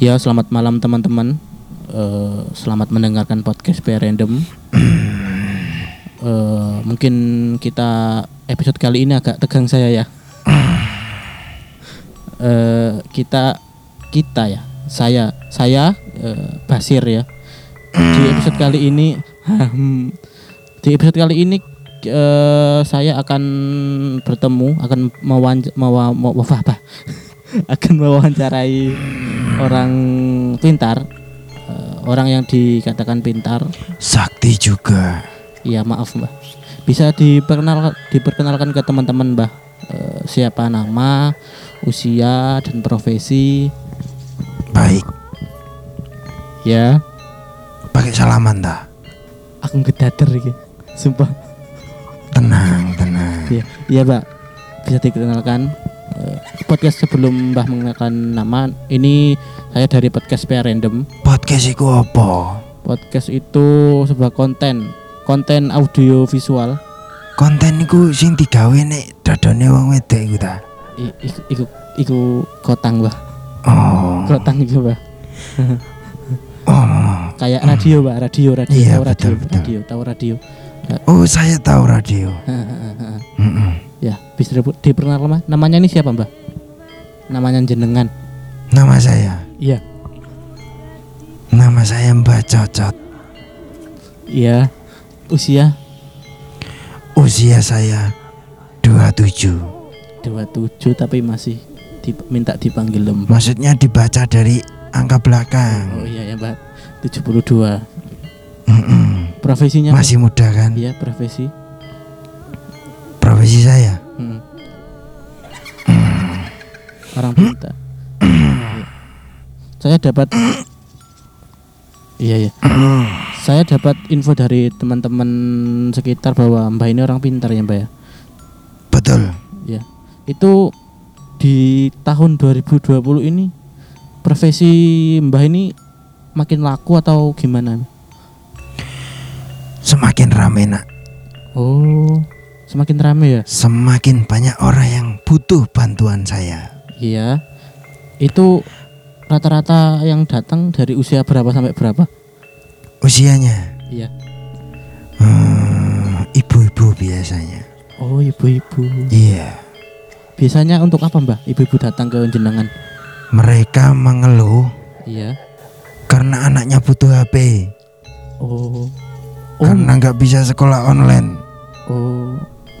Ya, selamat malam teman-teman. Eh, selamat mendengarkan podcast PR Random. Eh, mungkin kita episode kali ini agak tegang saya ya. Eh, kita kita ya, saya saya eh, Basir ya. Di episode kali ini di episode kali ini eh, saya akan bertemu akan mewanc- mewa, mewa, apa? akan mewawancarai orang pintar eh, orang yang dikatakan pintar Sakti juga. ya maaf mbah bisa diperkenal diperkenalkan ke teman-teman mbah Eh, siapa nama usia dan profesi Baik, ya pakai salaman dah. aku ngedader iki sumpah Tenang, tenang. Iya, iya Mbak. Bisa dikenalkan Eh, podcast sebelum Mbah mengenalkan nama ini saya dari podcast PR Random. Podcast iku apa? Podcast itu sebuah konten, konten audio visual. Konten iku sing digawe nek dodone wong wedok iku ta. I- iku, iku, iku kotang Mbah. Oh. Kotang juga Mbah. Oh. Kayak radio Mbah, radio, radio, Iya, tahu radio, betul, betul. radio, tahu radio. Oh, saya tahu radio. Mm-mm. ya, bisa dipu- diperkenalkan Mbah. Namanya ini siapa Mbah? Namanya jenengan. Nama saya. Iya. Nama saya Mbak Cocot. Iya. Usia Usia saya 27. 27 tapi masih dip- minta dipanggil lembah. Maksudnya dibaca dari angka Oh belakang. iya ya Mbak 72 Mm-mm. Profesinya apa? Masih muda kan? Iya profesi Profesi saya Mm. Orang pintar Iya. Saya dapat Iya ya Saya dapat info dari teman-teman sekitar bahwa Mbak ini orang pintar ya Mbak ya betul. Iya Itu di tahun 2020 ini Profesi Mbak ini makin laku atau gimana? Semakin rame nak. Oh semakin rame ya semakin banyak orang yang butuh bantuan saya. Iya. Itu rata-rata yang datang dari usia berapa sampai berapa? Usianya Iya. eh, ibu-ibu biasanya. Oh, ibu-ibu. Iya, Biasanya untuk apa, Mbah? Ibu-ibu datang ke jenengan. mereka mengeluh Iya. karena anaknya butuh HP, Oh. Oh, karena nggak bisa sekolah online. oh.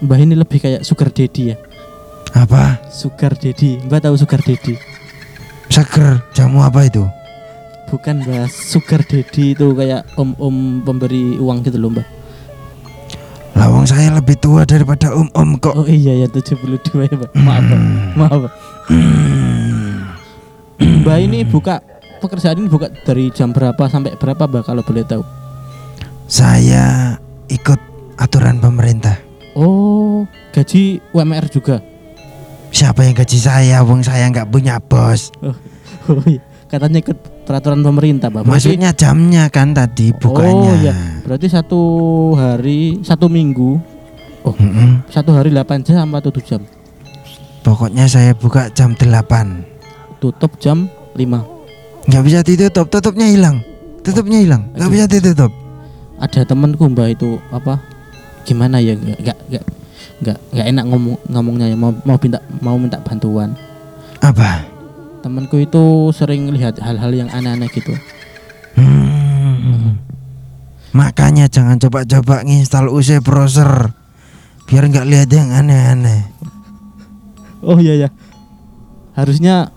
Mbah ini lebih kayak sugar daddy ya. Apa? Sugar daddy. Mbah tahu sugar daddy? Seger jamu apa itu? Bukan, Mbah. Sugar daddy itu kayak om-om pemberi uang gitu loh, Mbah. Lawang saya lebih tua daripada om-om kok. Oh iya ya 72 ya, Mbah. Maaf, Mbah. Maaf. Mbah. Mbah ini buka pekerjaan ini buka dari jam berapa sampai berapa, Mbah kalau boleh tahu? Saya ikut aturan pemerintah. Oh, gaji UMR juga. Siapa yang gaji saya? Wong saya nggak punya bos. Oh iya. Katanya ikut peraturan pemerintah, Pak. Berarti- Maksudnya jamnya kan tadi bukannya. Oh iya. Berarti satu hari, satu minggu, Mm-mm. satu hari 8 jam atau 7 jam. Pokoknya saya buka jam 8 Tutup jam 5. nggak bisa ditutup, tutupnya hilang Tutupnya hilang, nggak Aduh. bisa ditutup Ada temanku Mbak itu apa? Gimana ya? Nggak nggak nggak nggak, nggak enak ngomong ngomongnya ya. mau mau minta mau minta bantuan. Apa? Temanku itu sering lihat hal-hal yang aneh-aneh gitu. Hmm. Makanya jangan coba-coba nginstal UC browser Biar nggak lihat yang aneh-aneh Oh iya ya. Harusnya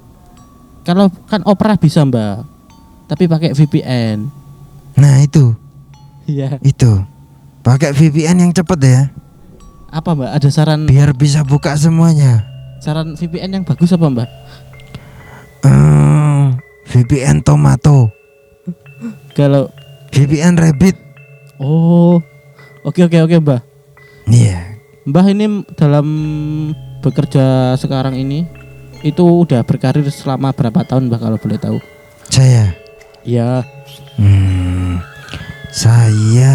kalau kan Opera bisa, Mbak. Tapi pakai VPN. Nah itu, Iya. itu Pakai VPN yang cepet ya Apa, Mbak? Ada saran Biar bisa buka semuanya saran VPN yang bagus apa, Mbak? Hmm, VPN Tomato Kalau VPN Rabbit oh. Oke, oke, oke, Mbak. Iya Mbah ini dalam bekerja sekarang ini itu udah berkarir selama berapa tahun, Mbak kalau boleh tahu? Saya Iya. Ya, Hmm, saya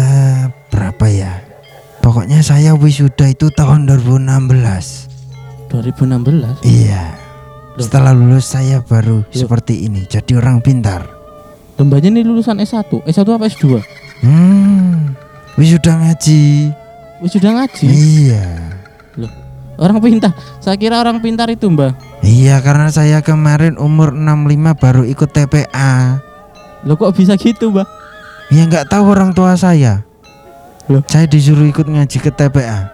berapa ya? Pokoknya saya wisuda itu tahun 2016. 2016. Iya. Loh. Setelah lulus saya baru seperti ini, jadi orang pintar. Dombanya ini lulusan S1, S1 apa S2? Hmm, wis sudah ngaji. Wis sudah ngaji. Iya, Orang pintar. Saya kira orang pintar itu, Mbah. iya karena saya kemarin umur 65 baru ikut TPA. Loh kok bisa gitu, Mbah? Ya nggak tahu orang tua saya. Loh. Saya disuruh ikut ngaji ke TPA.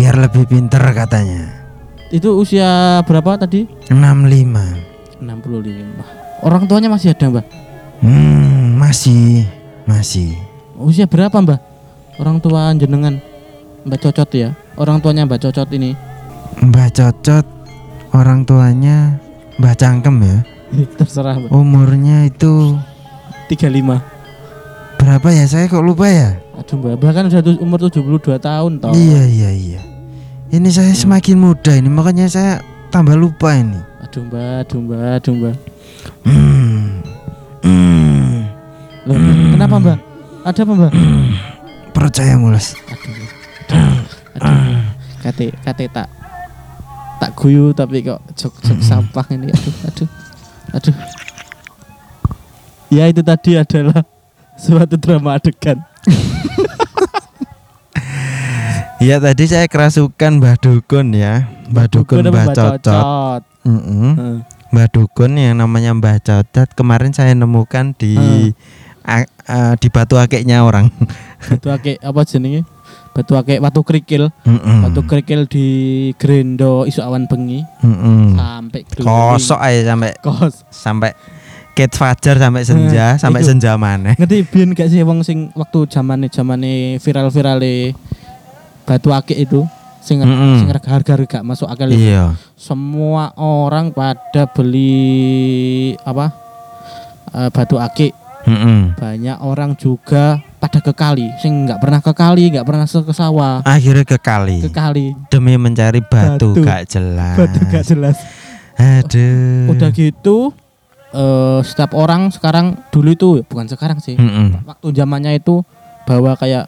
Biar lebih pinter katanya. Itu usia berapa tadi? 65. 65. Orang tuanya masih ada, Mbah. Hmm, masih, masih. Usia berapa, Mbah? Orang tua jenengan. Mbak Cocot ya. Orang tuanya Mbak Cocot ini. Mbak Cocot orang tuanya Mbak Cangkem ya. Terserah, Mbah. Umurnya itu 35. berapa ya? Saya kok lupa ya? Aduh, Mbah, Mbah kan udah tu- umur 72 tahun toh. Iya, iya, iya. Ini saya semakin muda ini, makanya saya tambah lupa ini. Aduh, Mbah, aduh, Mbah, aduh, Mbah. Hmm. Hmm. Loh, kenapa, Mbah? Ada apa, Mbak? Percaya mulus. aduh aduh aduh kate kate tak tak guyu tapi kok jok jok Hmm. sampah ini aduh aduh aduh ya itu tadi adalah suatu drama adegan Iya, tadi saya kerasukan Mbah Dukun ya. Mbah Gua Dukun, Mbah nama Cocot. Mm-mm. Heeh. Mbah Dukun yang namanya Mbah Cocot kemarin saya nemukan di Hmm. a- a- di batu akiknya orang. batu akik apa jenenge batu akik batu kerikil Mm-mm. batu kerikil di Grendo isu awan bengi Mm-mm. sampai keliling. kosok aja sampai kos sampai Kate Fajar sampai Eh, senja sampai itu. senja maneh. ngerti biyen gak sih wong sing waktu zamane zamane viral virale batu akik itu sing Mm-mm. sing harga harga gak masuk akal itu. Iya. semua orang pada beli apa eh, batu akik Mm-mm. banyak orang juga pada ke kali sing nggak pernah ke kali nggak pernah se- ke sawah Akhirnya ke kali ke kali demi mencari Batu. batu, gak jelas. batu gak jelas Aduh. udah gitu eh, setiap orang sekarang dulu itu bukan sekarang sih Mm-mm. waktu zamannya itu bawa kayak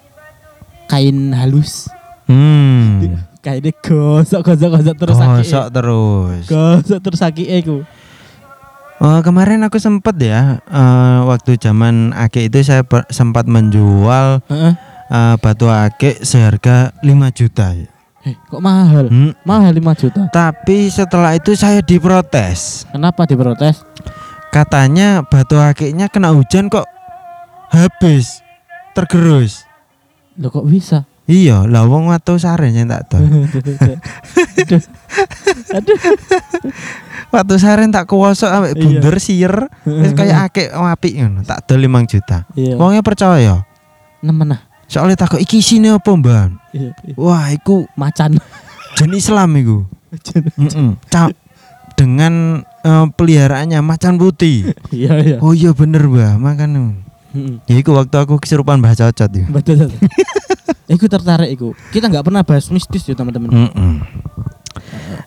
kain halus Hmm. kainnya gosok gosok Iya. gosok terus Gosok Hmm. terus. sakit gosok terus sakit iku Oh, kemarin aku sempet ya eh, waktu zaman ake itu saya per- sempat menjual Heeh. eh, batu ake seharga 5 juta. ya. Eh, kok mahal Hmm. mahal 5 juta Tapi setelah itu saya diprotes. kenapa diprotes Katanya batu akiknya kena hujan kok habis tergerus. lo kok bisa Iya, lah wong watu saren yang tak tol. aduh aduh Watu saren tak kuwasok ambek Iya. bunder sier. Wis kaya akik apik ngono, tak dol 5 juta. iya Wongnya percaya. nemen ah Soalnya takut iki sini apa, Mbak? Iya, iya. Wah, iku macan jen Islam iku. Mm-mm. Cap dengan eh, peliharaannya macan putih. iya iya Oh iya bener, Mbak. Makan. Heeh. Ya iku waktu aku kesurupan Mbah Cocot ya. betul betul. Iku tertarik iku. Kita nggak pernah bahas mistis ya teman-teman. Mm-mm.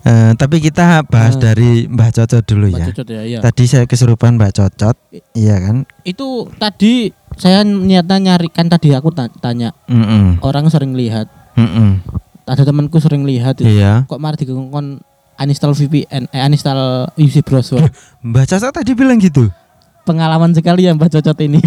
Eh, tapi kita bahas Eh. dari Mbah Cocot dulu Pak ya. Cocot ya, iya. Tadi saya kesurupan Mbah Cocot, iya kan? Itu tadi saya niatnya nyarikan tadi aku ta- tanya Mm-mm. orang sering lihat. Mm-mm. Ada temanku sering lihat. Iya. Kok malah digongkon uninstall VPN, eh uninstall UC browser. Mbah Cocot tadi bilang gitu. Pengalaman sekali ya Mbak Cocot ini.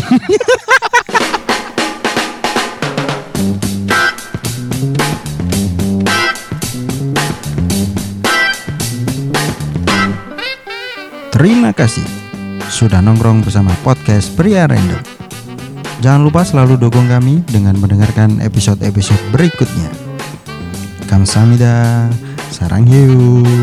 Terima kasih sudah nongkrong bersama podcast Pria Random. Jangan lupa selalu dukung kami dengan mendengarkan episode-episode berikutnya. Kamsahamnida, sarang hiu.